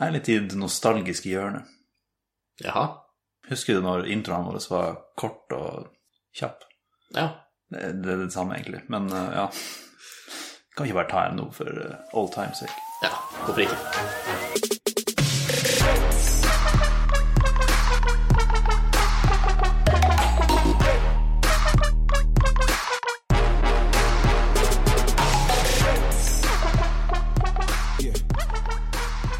Jeg er litt i det nostalgiske hjørnet. Jaha. Husker du når introene våre var kort og kjapp? Ja. Det det er det samme, egentlig. Men eh, ja. Kan ikke bare ta en nå for eh, all time's sake. Ja, hvorfor ikke?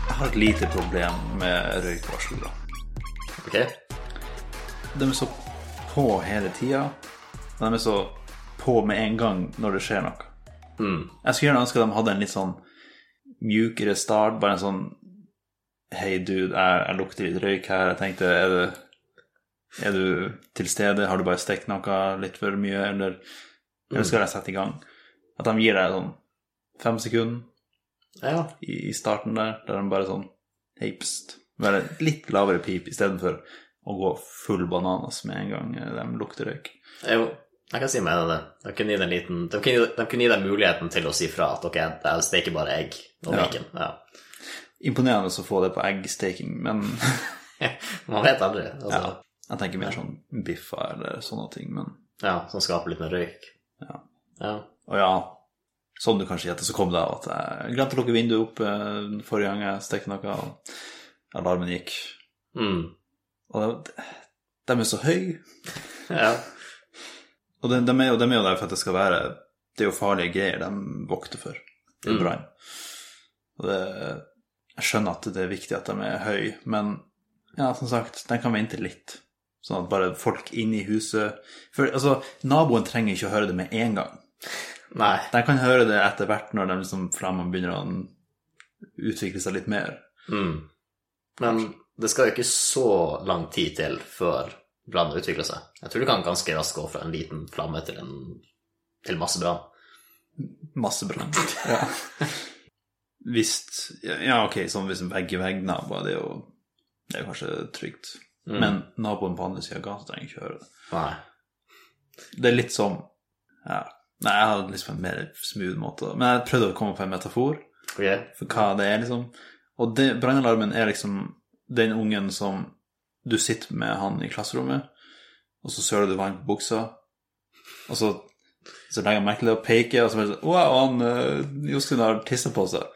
Jeg har et lite problem med røykvarslere. Ok. De er så på hele tida. og De er så på med en gang når det skjer noe. Jeg skulle gjerne ønske de hadde en litt sånn mjukere start. Bare en sånn Hei, dude, jeg, jeg lukter litt røyk her. Jeg tenkte, er du, er du til stede? Har du bare stekt noe litt for mye? Eller, eller skal jeg sette i gang? At de gir deg sånn fem sekunder Ja. i i starten der, der de bare sånn Hei, pst. Bare litt lavere pip istedenfor å gå full bananas med en gang eh, de lukter røyk. Jo, jeg kan si meg enig i det. De kunne gi deg en liten De kunne, de kunne gi deg muligheten til å si fra at ok, jeg steker bare egg og Ja. bacon. Ja. Imponerende å få det på eggstaking, men Man vet aldri. Altså. Ja. jeg tenker mer sånn biffa eller sånne ting. Men Som skaper litt mer røyk. Ja. ja. Og ja, som du kanskje gjetter, så kom det av at jeg glemte å lukke vinduet opp eh, forrige gang jeg stekte noe, og alarmen gikk. Mm. Og det, de er så høye. ja. Og de, de, er jo, de er jo der for at det skal være Det er jo farlige greier de vokter for. Det er Mm. brann. Og det Jeg skjønner at det er viktig at de er høye, men ja, som sagt, de kan vente litt. Sånn at bare folk inne i huset For altså, naboen trenger ikke å høre det med en gang. Nei. De kan høre det etter hvert når de liksom fram og begynner å utvikle seg litt mer. Mm. Men det skal jo ikke så lang tid til før brannen utvikler seg. Jeg tror du kan ganske raskt gå fra en liten flamme til, en, til masse brann. Masse brann. Ja. Hvis Ja, ok, sånn hvis en vegg-i-vegg-nabo, det er jo Det er jo kanskje trygt. Mm. Men naboen på andre sida av gata trenger ikke høre det. Nei. Det er litt som ja. Nei, jeg hadde liksom en mer smooth måte. Men jeg prøvde å komme på en metafor Ok. for hva det er, liksom. Og det- brannalarmen er liksom den ungen som du sitter med han i klasserommet, og så søler du vann på buksa, og så, så legger han merke til det og peker, og så bare sånn Wow, han eh, Jostein har tissa på seg.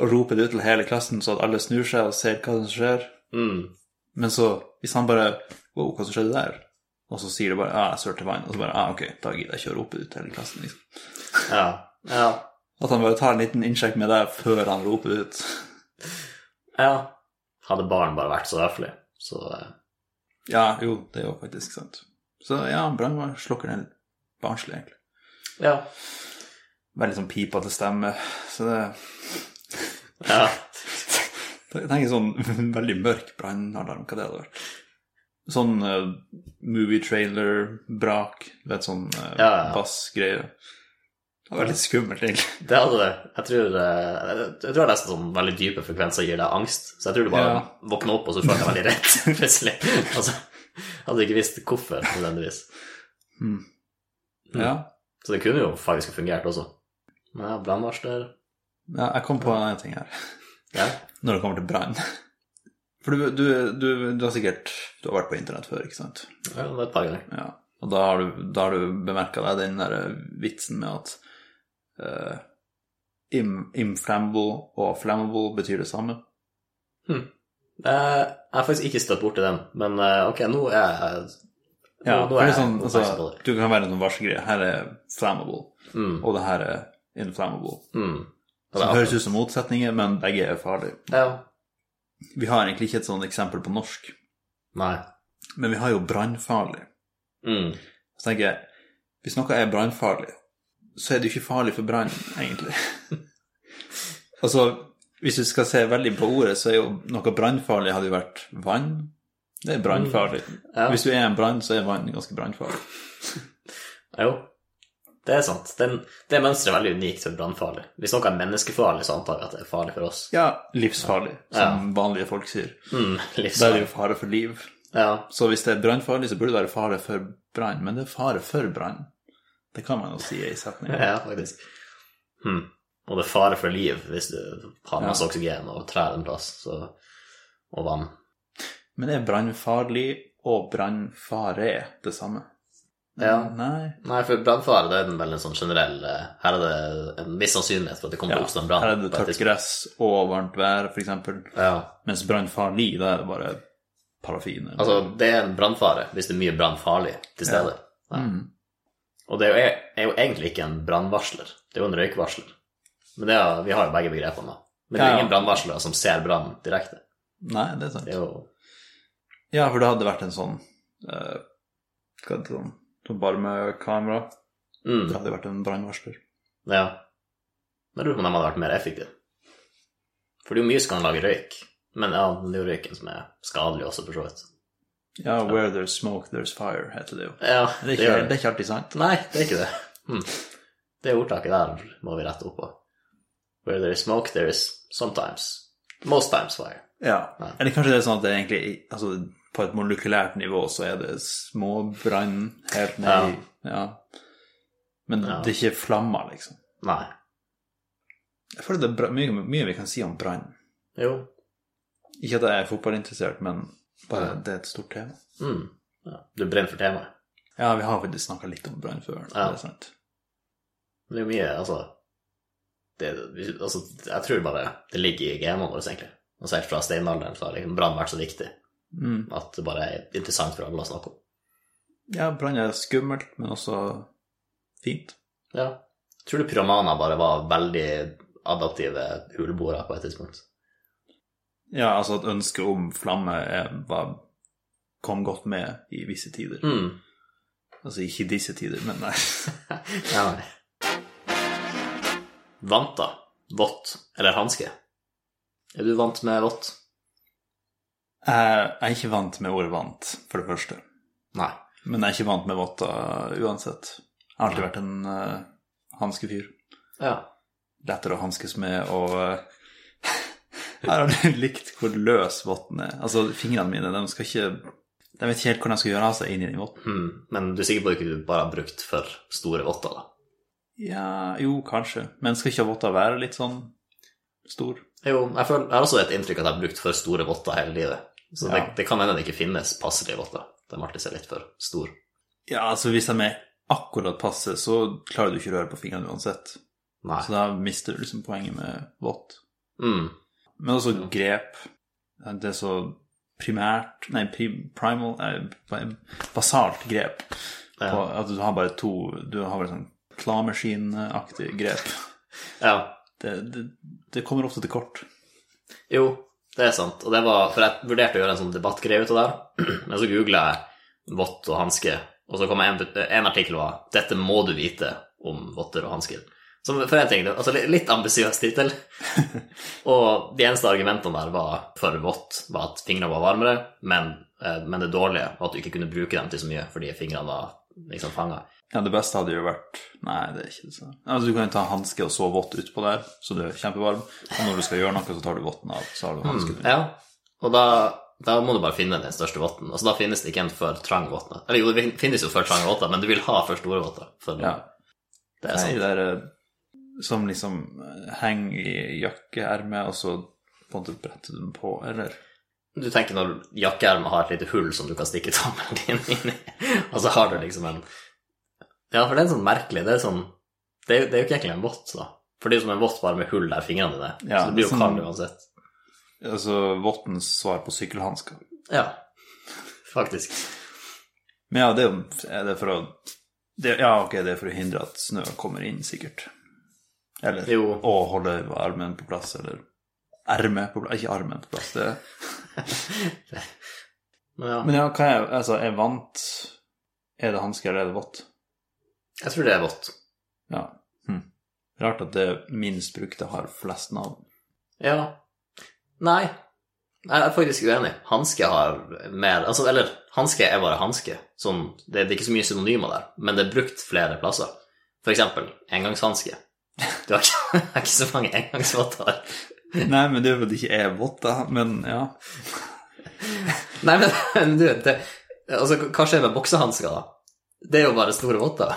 Og roper det ut til hele klassen, så at alle snur seg og ser hva som skjer. Mm. Men så, hvis han bare Wow, hva som skjedde der? Og så sier det bare Ja, jeg sølte vann. Og så bare Ja, ok, da gidder jeg ikke å rope det ut til hele klassen, liksom. Ja. Ja. At han bare tar en liten innsjekk med deg før han roper det ut. ja. Hadde barn bare vært så høflig, så eh, Ja, jo, det er jo faktisk sant. Så ja, brannvern slukker den barnslig, egentlig. Ja. Veldig sånn pipete stemme. Så det ja. Jeg tenker sånn veldig mørk brannalarm, hva det hadde vært. Sånn movietrailer-brak, du vet, sånn uh, Ja, ja. bassgreie. Det var litt skummelt, egentlig. Det hadde det. Jeg tror, eh, jeg tror nesten sånn veldig dype frekvenser gir deg angst. Så jeg tror du bare Ja. våkner opp, og så føler deg veldig redd plutselig. Altså, hadde ikke visst hvorfor nødvendigvis. Mm. Mm. Ja. Så det kunne jo faktisk fungert også. Men ja, brannvarsler ja. Jeg kom på en annen ting her. Ja. Når det kommer til brann. For du, du, du, du har sikkert Du har vært på internett før, ikke sant? ja, det var et par ganger. Ja, og da har du, da har du bemerka deg den der eh, vitsen med at eh, im, inflammable og flammable betyr det samme. Eh, Jeg har faktisk ikke støtt borti den, men eh, ok, nå er jeg nå, Ja, nå for er det jeg er sånn, oppmerksom på altså, det. du kan være en sånn varselgreie. Her er flammable, Mm, og det her er inflammable. mm. Det høres ut som motsetninger, men begge er farlige. Ja. Vi har egentlig ikke et sånt eksempel på norsk, Nei. men vi har jo brannfarlig. Mm. Så tenker jeg, hvis noe er brannfarlig, så er det jo ikke farlig for brann, egentlig. altså, hvis du skal se veldig på ordet, så er jo noe brannfarlig hadde jo vært vann. Det er brannfarlig. Mm. Ja. Hvis du er en brann, så er vann ganske brannfarlig. Jo, det er sant. Den, det mønsteret er veldig unikt for brannfarlig. Hvis noe er menneskefarlig, så antar jeg at det er farlig for oss. Ja, livsfarlig, som vanlige folk sier. Mm, Da er det livsfarlig. jo fare for liv. Ja. Så hvis det er brannfarlig, så burde det være fare for brann. Men det er fare for brann. Det kan man jo si i setningen. ja, faktisk. Mm. Og det er fare for liv hvis du har masse oksygen og trær en plass, så, og vann. Men er brannfarlig og brannfare det samme? Ja. Nei. Nei, for brannfare det er en veldig sånn generell eh, Her er det en viss sannsynlighet for at det kommer Ja. til å oppstå en brann. Her er det på et tørt tidspunkt. gress og varmt vær, f.eks. Ja. Mens brannfarlig, da er det bare parafin. eller- Altså, det er en brannfare hvis det er mye brannfarlig til stede. Ja. Mm. Og det er jo, er jo egentlig ikke en brannvarsler, det er jo en røykvarsler. Men det er, vi har jo begge begrepene, da. Men det Ja, er ja. ingen brannvarslere som ser brann direkte. Nei, det er sant. Det er jo Ja, for det hadde vært en sånn eh, Hva heter det sånn, sånn varmekamera. Det mm, hadde vært en brannvarsler. Ja. Men jeg lurer på om de hadde vært mer effektive. For det er jo mye som kan lage røyk. Men ja, det er jo røyken som er skadelig også, for så vidt. Ja, 'Where there's smoke, there's fire', heter det jo. Ja, Det er gjør ikke, det er ikke alltid sant. Nei, det er ikke det. Hmm. Det ordtaket der må vi rette opp på. Where there is smoke, there is sometimes. Most times fire. Ja. Nei. Eller kanskje det er sånn at det egentlig altså, På et molekylært nivå så er det småbrann helt ned i ja. Men Ja. det er ikke flammer, liksom. Nei. Jeg føler det er bra, mye, mye vi kan si om brann. Jo. Ikke at jeg er fotballinteressert, men bare det er et stort tema. Mm. Ja. Du brenner for temaet. Ja, vi har faktisk snakka litt om brann før. Ja. Det er sant. Men det er jo mye, altså, det, vi- altså Jeg tror bare det ligger i genene våre, egentlig. Altså Helt fra steinalderen så har liksom brann vært så viktig Mm. at det bare er interessant for alle å snakke om. Ja, brann er skummelt, men også fint. Ja. Jeg tror du pyromaner bare var veldig adaptive huleboere på et tidspunkt. Ja, altså at ønsket om flamme er, var, kom godt med i visse tider. Mm. Altså ikke i disse tider, men nei. Ja, nei. Vanta, vått eller hanske? Er du vant med vått? Jeg er ikke vant med ordet 'vant', for det første. Nei. Men jeg er ikke vant med votter uansett. Jeg har alltid vært en uh, hanskefyr. Ja. Lettere å hanskes med og eh, Jeg har aldri likt hvor løs votten er. Altså, fingrene mine, de skal ikke De vet ikke helt hvordan de skal gjøre av seg inn i den votten. Hmm. Men du er sikker på at du ikke bare har brukt for store votter, da? Ja, jo, kanskje. Men skal ikke votter være litt sånn stor? Jo, jeg, føler, jeg har også et inntrykk at jeg har brukt for store votter hele livet. Så det, Ja. det kan hende det ikke finnes passelige votter. De har alltid sett litt for stor. Ja, altså, hvis de er akkurat passe, så klarer du ikke å røre på fingrene uansett. Nei. Så da mister du liksom poenget med vått. Mm. Men også grep. Det er så primært Nei, pri- primal nei, Basalt grep. På, at du har bare to Du har bare sånn klamaskinaktig grep. Ja. Det, det, det kommer ofte til kort. Jo, det er sant. Og det var, for jeg vurderte å gjøre en sånn debattgreie ut av det, her, men så googla jeg vått og hanske, og så kom jeg en, en artikkel var 'Dette må du vite om votter og hansker'. Som for en ting, altså litt- Litt ambisiøs tittel. og de eneste argumentene der var for vått var at fingrene var varmere, men, eh, men det dårlige var at du ikke kunne bruke dem til så mye fordi fingrene var liksom fanga. Ja, det beste hadde jo vært Nei, det er ikke det samme. Altså, du kan jo ta hanske og så vått utpå der, så du er kjempevarm. Og når du skal gjøre noe, så tar du votten av, så har Mm. du hansken. Ja, og da, da må du bare finne den største votten. Altså, da finnes det ikke en for trang vått. Eller jo, det finnes jo for trang vått, men du vil ha for store våtter. For Ja. det er sånn. Nei, sant. det er eh, som liksom eh, henger i jakkeermet, og så på en måte bretter du den på, eller Du tenker når jakkeermet har et lite hull som du kan stikke tommelen din inn i, og så har du liksom en Ja, for det er sånn merkelig. Det er sånn Det er, jo- det er jo ikke egentlig en vått, da. For det er jo som en vått bare med hull der fingrene dine er. Ja, så det blir jo sånn- kald uansett. Altså vottens svar på sykkelhansker. Ja, faktisk. Men ja, det er jo- er det for å det, Ja, ok, det er for å hindre at snø kommer inn, sikkert. Eller Jo. å holde armen på plass, eller ermet på plass Ikke armen på plass, det Men ja, Men ja, hva er Altså, er vant Er det hanske, eller er det vått? jeg tror det er vått. Ja. Hm. Rart at det minst brukte har flest navn. Ja. Nei, jeg er faktisk uenig. Hanske har mer altså, Eller hanske er bare hanske. Sånn, det, det er ikke så mye synonymer der, men det er brukt flere plasser. For eksempel engangshanske. Du har ikke, det er ikke så mange engangsvotter der. Nei, men det er jo fordi det ikke er vått, da. Men ja. Nei, men, men du, det, altså, hva skjer med boksehansker, da? Det er jo bare store votter.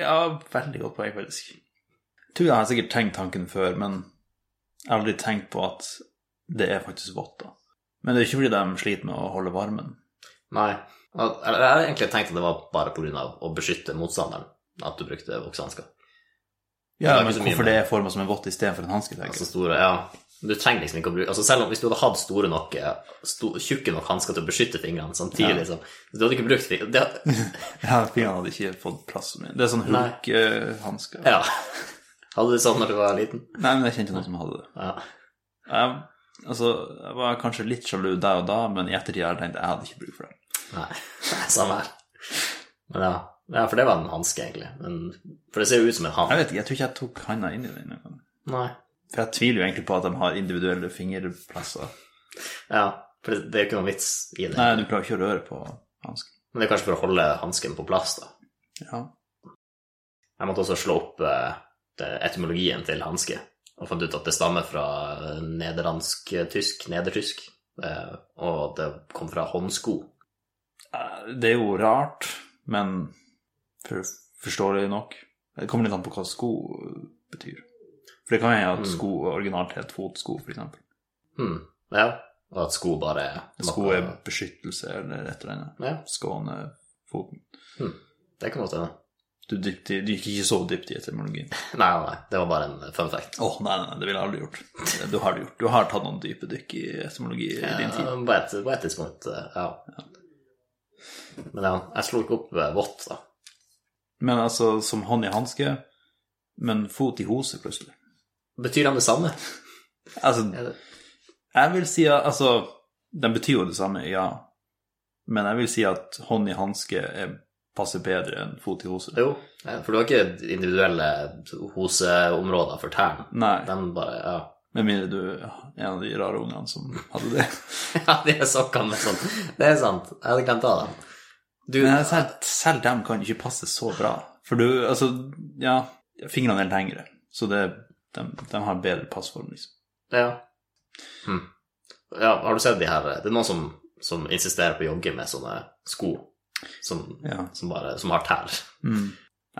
Ja, veldig godt poeng, faktisk. tror jeg har sikkert tenkt tanken før, men jeg har aldri tenkt på at det er faktisk vått. da. Men det er ikke fordi de sliter med å holde varmen. Nei. Jeg jeg har egentlig tenkt at det var bare pga. å beskytte motstanderen at du brukte voksehansker. Ja, det er men ikke så mye Hvorfor med- det er forma som en vått istedenfor en hanske? tenker Altså jeg. store, ja. Du trenger liksom ikke å bruke altså Selv om hvis du hadde hatt store nok, eh, sto, tjukke nok hansker til å beskytte fingrene samtidig, Ja. liksom Du hadde ikke brukt fingrene det, Ja, Fingrene hadde ikke fått plass så mye. Det er sånn Nei. hulkhansker. Ja. Hadde du sånn når du var liten? Nei, men jeg kjente noen som hadde det. Ja. Jeg, altså, jeg var kanskje litt sjalu der og da, men i ettertid har jeg tenkt jeg hadde ikke bruk for det. Nei, samme her. Men ja. ja, for det var en hanske, egentlig. En, for det ser jo ut som en Jeg hann. vet ikke, jeg tror ikke jeg tok handa inn i den. engang. Nei. For jeg tviler jo egentlig på at de har individuelle fingerplasser. Ja, for det, det er jo ikke noen vits i det. Nei, du klarer ikke å røre på hansken. Men det er kanskje for å holde hansken på plass, da. Ja. Jeg måtte også slå opp eh, det- etymologien til hanske, og fant ut at det stammer fra eh, nederlandsk-tysk, nedertysk, eh, og at det kom fra håndsko. Eh, Det er jo rart, men for, forståelig nok. Det kommer litt an på hva sko betyr. For det kan hende at Mm. sko originalt het fotsko, f.eks. Hmm. Ja, og at sko bare Sko er beskyttelse eller et eller annet. Ja, Skåne foten. det kan godt hende. Du, dypt i- du gikk ikke så dypt i etymologien. Nei, nei, nei, det var bare en eh, fun fact. Å, nei, nei, nei, det ville jeg aldri gjort. Du har det gjort. Du har tatt noen dype dykk i etymologi i din tid. Ja, Eh, på, et, på et tidspunkt, eh, ja. Men ja, jeg slo ikke opp eh, vått, da. Men altså, som hånd i hanske, men fot i hose, plutselig. Betyr han det samme? Altså, Er det- jeg vil si at Altså, den betyr jo det samme, ja. Men jeg vil si at hånd i hanske er- passer bedre enn fot i hose. Jo, eh, for du har ikke individuelle hoseområder for tærne. Nei, Den bare, ja. med mindre du er en av de rare ungene som hadde det. Ja, de er sokkene med sånn. Det er sant. Jeg hadde glemt av dem. Du, Men jeg- selv, selv dem kan ikke passe så bra. For du, altså Ja, fingrene er lengre, så det, de, de har bedre passform, liksom. Ja. Hm. ja, har du sett de her Det er noen som, som insisterer på å jogge med sånne sko som, Ja. som, bare, som har tær. Mm.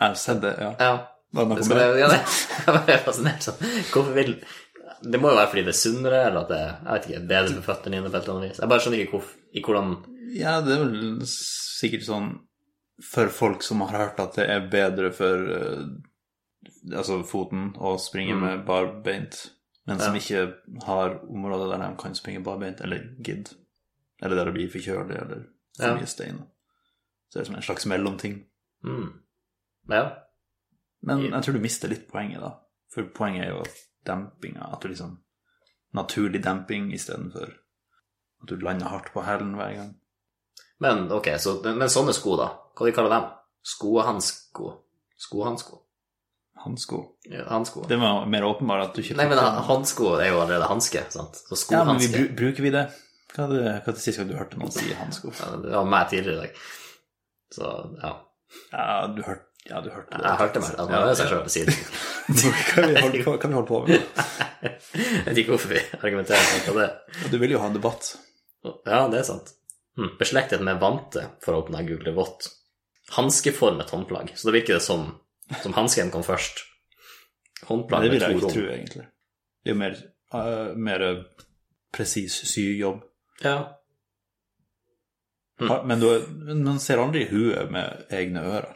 Jeg har sett det, ja. Ja, Var det Det noe skal mer? jeg, ja, det, jeg ble fascinert sånn. Hvorfor vil Det må jo være fordi det er sunnere, eller at det jeg vet ikke, er bedre for føttene dine på et eller annet vis. Jeg bare skjønner ikke hvorf- i hvordan Ja, det er vel sikkert sånn for folk som har hørt at det er bedre for eh, altså foten å springe Mm. med barbeint, men som Ja. ikke har områder der de kan springe barbeint, eller gidd, eller der det blir for kjølig, eller for Ja. mye steiner. Så det er som en slags mellomting. mm. Ja. Men Ja. jeg tror du mister litt poenget, da. For poenget er jo dempinga, at du liksom Naturlig demping istedenfor at du lander hardt på hælen hver gang. Men ok, så, men sånne sko, da? Hva de kaller dem? Skohansko? Skohansko? Hansko. Ja, Hansko? Det var mer åpenbart at du ikke Nei, men håndsko er jo allerede hanske, sant? Så Ja, men vi skohanske ja, bru- bruker vi det? Hva er det, hva er det siste gang du hørte noen si hansko? Det var meg tidligere i dag. Så ja, Ja, du hørte ja, du hørte det. jeg hørte meg. At man hører seg sjøl på siden. Hva vi holder på, hva vi holder på med? Jeg vet ikke hvorfor vi argumenterer sånn på det. Du vil jo ha en debatt. Ja, det er sant. Hm. Beslektet med vante, for å åpne Google vått. Hanskeformet håndplagg. Så da virker det som, som hansken kom først. Håndplagg Det med vil jeg to ikke tro, rom. egentlig. Det er jo mer, eh, mer eh, presis syjobb. Ja. Mm. Har- Men du, men man ser aldri huet med egne ører.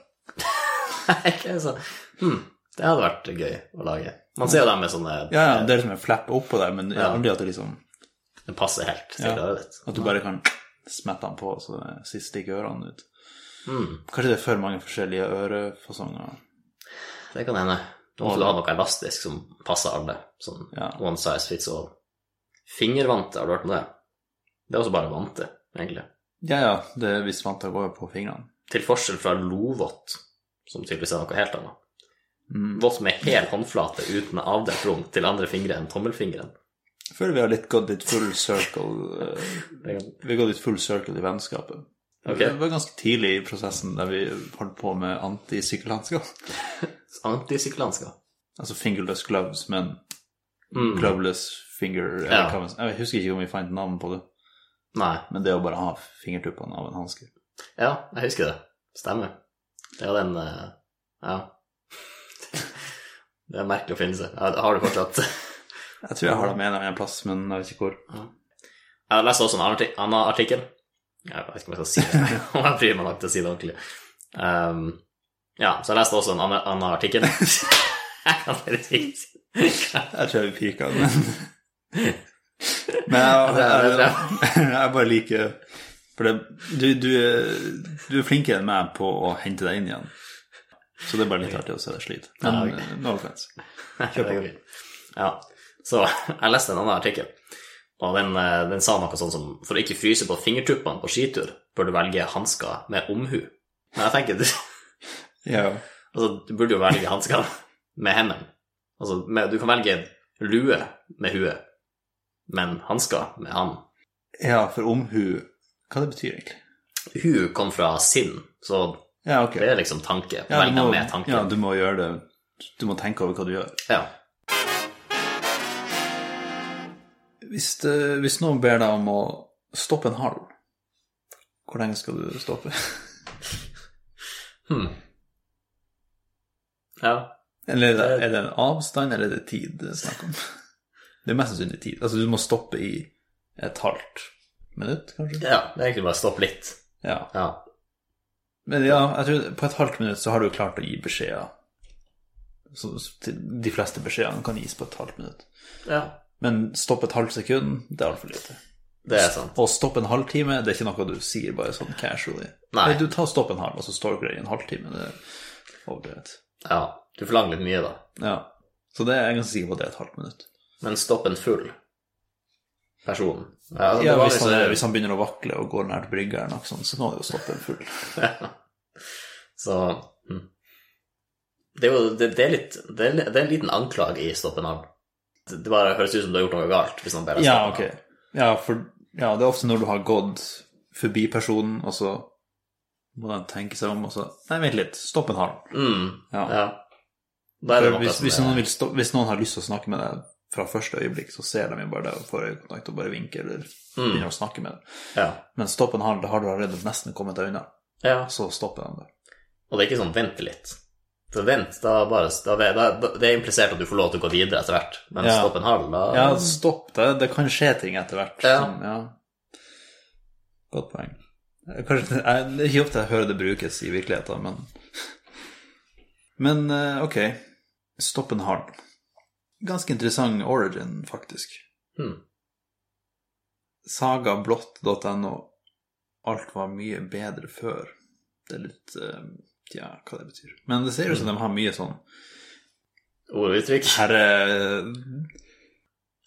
Ikke så. Hm. Det hadde vært gøy å lage. Man ser jo dem med sånne Ja, ja, det er liksom en flapp oppå der, men det er Ja. aldri at det liksom Det passer helt til Ja. øret ditt. At du bare kan smette den på, så det sist stikker ørene ut. Mm. Kanskje det er for mange forskjellige ørefasonger. Det kan hende. Da måtte du ha noe elastisk som passer alle. Sånn Ja. one size fits all. Fingervante, har du hørt om det? Det er også bare vante, egentlig. Ja, ja, det er visst vant til å gå på fingrene. Til forskjell fra lovott, som tydeligvis er noe helt annet. Mm. Vått med hel håndflate uten avdelt rom til andre fingre enn tommelfingeren. Jeg føler vi har litt gått litt full circle eh, Det kan- Vi har gått litt full circle i vennskapet. Ok. Det var ganske tidlig i prosessen der vi holdt på med antisykkelhansker. Antisykkelansker. Altså fingerless gloves, men Mm. gloveless finger eller Ja. hva man- Jeg husker ikke om vi fant navn på det, Nei. men det å bare ha fingertuppene av en hanske Ja, jeg husker det. Stemmer. Det var den eh, Ja. Det er merkelig å finne seg. Jeg har det fortsatt. Jeg tror jeg har dem en eller annen plass, men jeg vet ikke hvor. Jeg leste også en annen artik- annen artikkel. Jeg vet ikke om jeg skal si det, om jeg bryr meg nok til å si det ordentlig. Ehm, ja, så jeg leste også en annen, annen artikkel. jeg kan faktisk ikke si det. Jeg tror jeg vil pike av den. Men jeg, jeg, det jeg, bare liker For det, du, du, er- du er flinkere enn meg på å hente deg inn igjen. Så det er bare litt artig å se deg slite. Men Ja, ok. eh, no offense. Det går fint. Ja, så jeg leste en annen artikkel, og den, eh, den sa noe sånn som for å ikke fryse på fingertuppene på skitur, bør du velge hansker med omhu. Men jeg tenker, du, Ja. altså, du burde jo velge hansker med hendene. Altså, med, du kan velge lue med huet, men hansker med hand. ja, for omhu Hva det betyr egentlig? Hu kom fra sinn, så Ja, ok. det er liksom tanke. Ja, du velge må, med tanke. ja, du må gjøre det Du må tenke over hva du gjør. Ja. Hvis, det, hvis noen ber deg om å stoppe en halv, hvor lenge skal du stoppe? Hmm. Ja. Eller er det, Eh, er det en avstand, eller er det tid det er snakk om? Det er mest sannsynlig tid. Altså, du må stoppe i et halvt minutt, kanskje? ja, det er egentlig bare stopp litt. Ja. Ja. Men ja, jeg tror på et halvt minutt så har du klart å gi beskjeder. Så til- de fleste beskjedene kan gis på et halvt minutt. ja. Men stopp et halvt sekund, det er altfor lite. Det er sånn. sant. Og stopp en halvtime, det er ikke noe du sier bare sånn casually. Nei. Du tar stopp en halv, og så står dere i en halvtime. Det er overdrevet. Ja, du forlanger litt mye da. Ja. Så det er jeg ganske sikker på at det er et halvt minutt. Men stopp en full person. Ja, altså, Ja, det var hvis, han, liksom- sånn- hvis han begynner å vakle og går nært brygga, eller noe sånt, så kan han jo stoppe en full. Så mm. det, er jo, det, det, er litt, det, er, li- det er en liten anklage i stopp en arm. Det det bare høres ut som du har gjort noe galt. hvis han bare Ja, stopper ok. Ja, for ja, det er ofte når du har gått forbi personen, og så må den tenke seg om, og så Nei, vent litt, stopp en halv. en arm. Mm, Ja. ja. Da er det altså noe hvis, som hvis, er- noen vil stopp, hvis noen har lyst til å snakke med deg fra første øyeblikk, så ser de jo bare deg og får øyekontakt og bare vinker eller begynner å snakke med deg. mm, ja. Men stopp en halv, da har du allerede nesten kommet deg unna. ja. Så stopper de der. Og det er ikke sånn 'vent litt'. Så vent, da bare, da, da, da, Det er implisert at du får lov til å gå videre etter hvert, men Ja. stopp en halv, da Ja, stopp det. Det kan skje ting etter hvert. Ja. Som, ja. Godt poeng. Jeg- Kanskje, jeg, det er ikke ofte jeg hører det brukes i virkeligheten, men Men eh, ok, stopp en halv. Ganske interessant origin, faktisk. Hmm. Sagablått.no. Alt var mye bedre før. Det er litt eh, Tja, hva det betyr. Men det ser ut som Hmm. de har mye sånn Ord og uttrykk. her, er,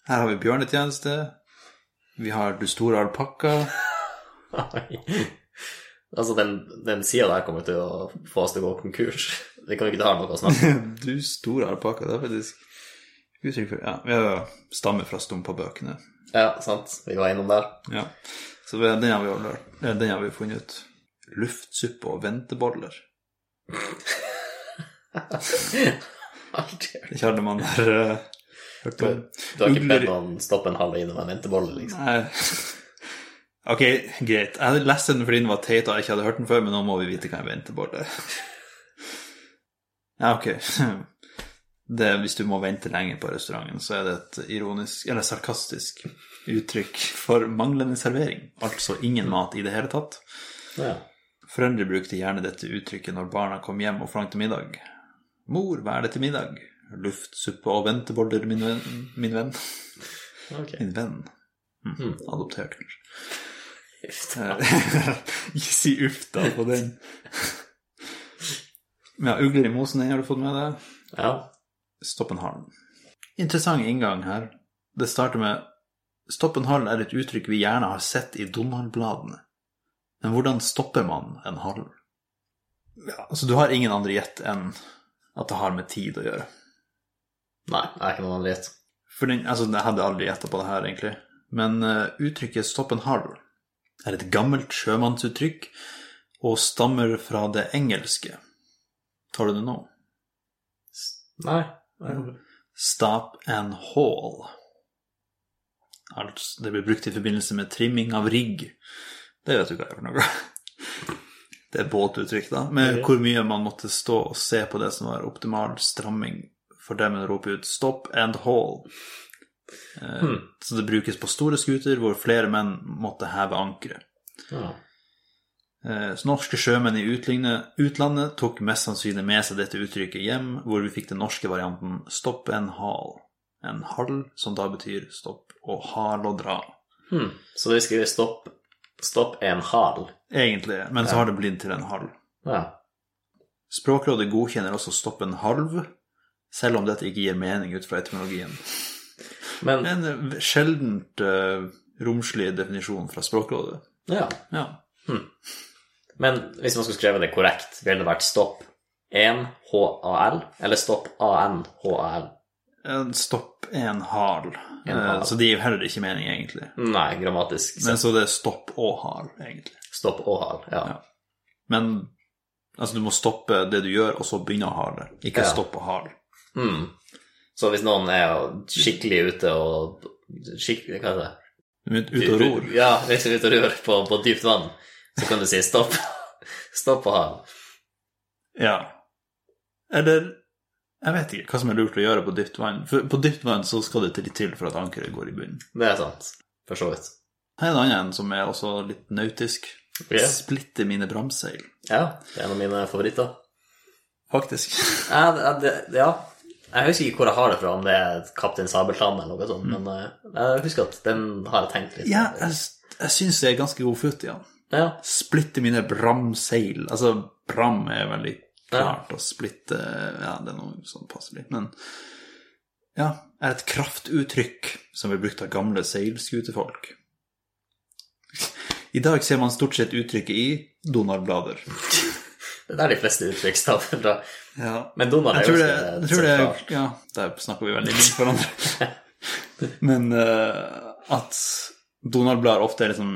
her har vi bjørnetjeneste. Vi har du store alpakka. altså, den, den sida der kommer til å få oss til å gå konkurs. Vi kan jo ikke ha noe å snakke om. Du store alpakka, det er faktisk uttrykk for Ja, vi har stammer fra Stumpabøkene. Ja, sant. Vi var innom der. Ja. Så vi- den har vi, jo lært- eh, den har vi funnet ut. Luftsuppe og venteboller. Artig. Det kjenner man der eh, hørt Du, om. du har ikke Ugler- bedt noen stoppe en halv innom en ventebolle, liksom? Nei. Ok, greit. Jeg hadde lest den fordi den var teit og jeg ikke hadde hørt den før, men nå må vi vite hva en ventebolle er. Ja, ok. Det, er hvis du må vente lenge på restauranten, så er det et ironisk, eller sarkastisk uttrykk for manglende servering. Altså ingen mat i det hele tatt. Ja. Foreldre brukte gjerne dette uttrykket når barna kom hjem og forlangte middag. Mor, hva er det til middag? Luftsuppe og venteboller, min venn. Min venn. Ok. Min venn. Mm. Mm. Adoptert, kanskje. Uff. Eh, Ikke si uff da på den. Men ja, ugler i mosen, den har du fått med deg. Ja. Stopp en halv. Interessant inngang her. Det starter med Stopp en halv er et uttrykk vi gjerne har sett i Donald-bladene. Men hvordan stopper man en halv? Ja, altså, du har ingen andre gjett enn at det har med tid å gjøre. Nei, jeg er ikke noen andre gjett. For den, altså, jeg hadde aldri gjetta på det her, egentlig. Men eh, uttrykket 'stopp en halv' er et gammelt sjømannsuttrykk og stammer fra det engelske. Tar du det nå? Nei. Stop and haul. Altså, det blir brukt i forbindelse med trimming av rigg. Det vet du hva er for noe. Det er båtuttrykk, da. Med Ja. hvor mye man måtte stå og se på det som var optimal stramming for demmen roper ut 'stop and haul'. Eh, Så det brukes på store skuter hvor flere menn måtte heve ankeret. Ja. Eh, Så norske sjømenn i utligne- utlandet tok mest sannsynlig med seg dette uttrykket hjem, hvor vi fikk den norske varianten 'stopp en hal'. En hall, som da betyr stopp og hal og dra. Hmm. Så de skriver 'stopp, stopp en hal'. Egentlig, men så har det blitt til en hall. Ja. Språkrådet godkjenner også 'stopp en halv', selv om dette ikke gir mening ut fra etymologien. Men En sjeldent eh, romslig definisjon fra Språkrådet. ja. Ja. Men hvis man skulle skrevet det korrekt, ville det vært stopp 1HAL eller stopp ANHAL? En stopp er en hal, En Eh, hal. så det gir heller ikke mening, egentlig. Nei, grammatisk. Men så det er stopp og hal, egentlig. Stopp og hal, ja. Ja. Men altså, du må stoppe det du gjør, og så begynne å hale. Ikke Ja. stopp og hale. Mm. Så hvis noen er jo skikkelig ute og skikkelig, Hva heter det? Ut, ut og ror. Ja, liksom ute og ror på, på dypt vann, så kan du si stopp. Stopp og hal. Ja. Eller jeg vet ikke hva som er lurt å gjøre på dypt vann. For på dypt vann så skal det litt til for at ankeret går i bunnen. Det er sant, for så vidt. Her er en annen som er også litt nautisk. Splitte mine bramseil. Ja, det er en av mine favoritter. Faktisk. Ja, det, det, ja. Jeg husker ikke hvor jeg har det fra, om det er Kaptein Sabeltann eller noe sånt, men eh, jeg husker at den har jeg tenkt litt Mm. Ja, jeg, jeg syns det er ganske god futt i han. ja. Splitte mine bramseil. Altså, bram er veldig klart å splitte Ja, det er noe sånn passelig. Men ja, er et kraftuttrykk som blir brukt av gamle seilskutefolk. I dag ser man stort sett uttrykket i Donald-blader. Det er der de fleste uttrykk stammer fra. Ja. Men Donald Jeg er jo tror det, jeg ganske tror det sentralt. Ja, der snakker vi veldig likt hverandre. Men eh, at Donald-blader ofte er liksom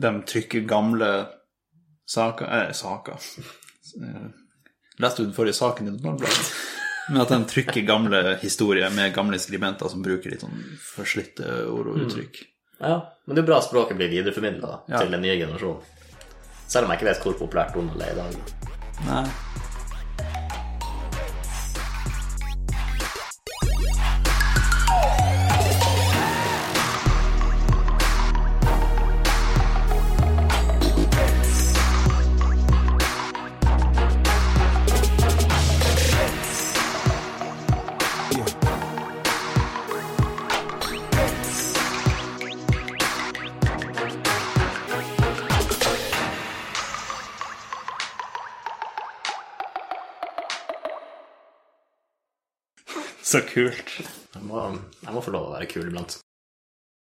De trykker gamle saker eh, saker. Eh, Leste du den forrige saken i Donald-bladet? Men at de trykker gamle historier med gamle skribenter som bruker litt sånn forslitte ord Mm. og uttrykk. Ja, men det er bra at språket blir videreformidla Ja. til den nye generasjonen. Selv om jeg ikke vet hvor populært Donald er i dag. Nei. Så kult. Jeg må, jeg må få lov å være kul iblant.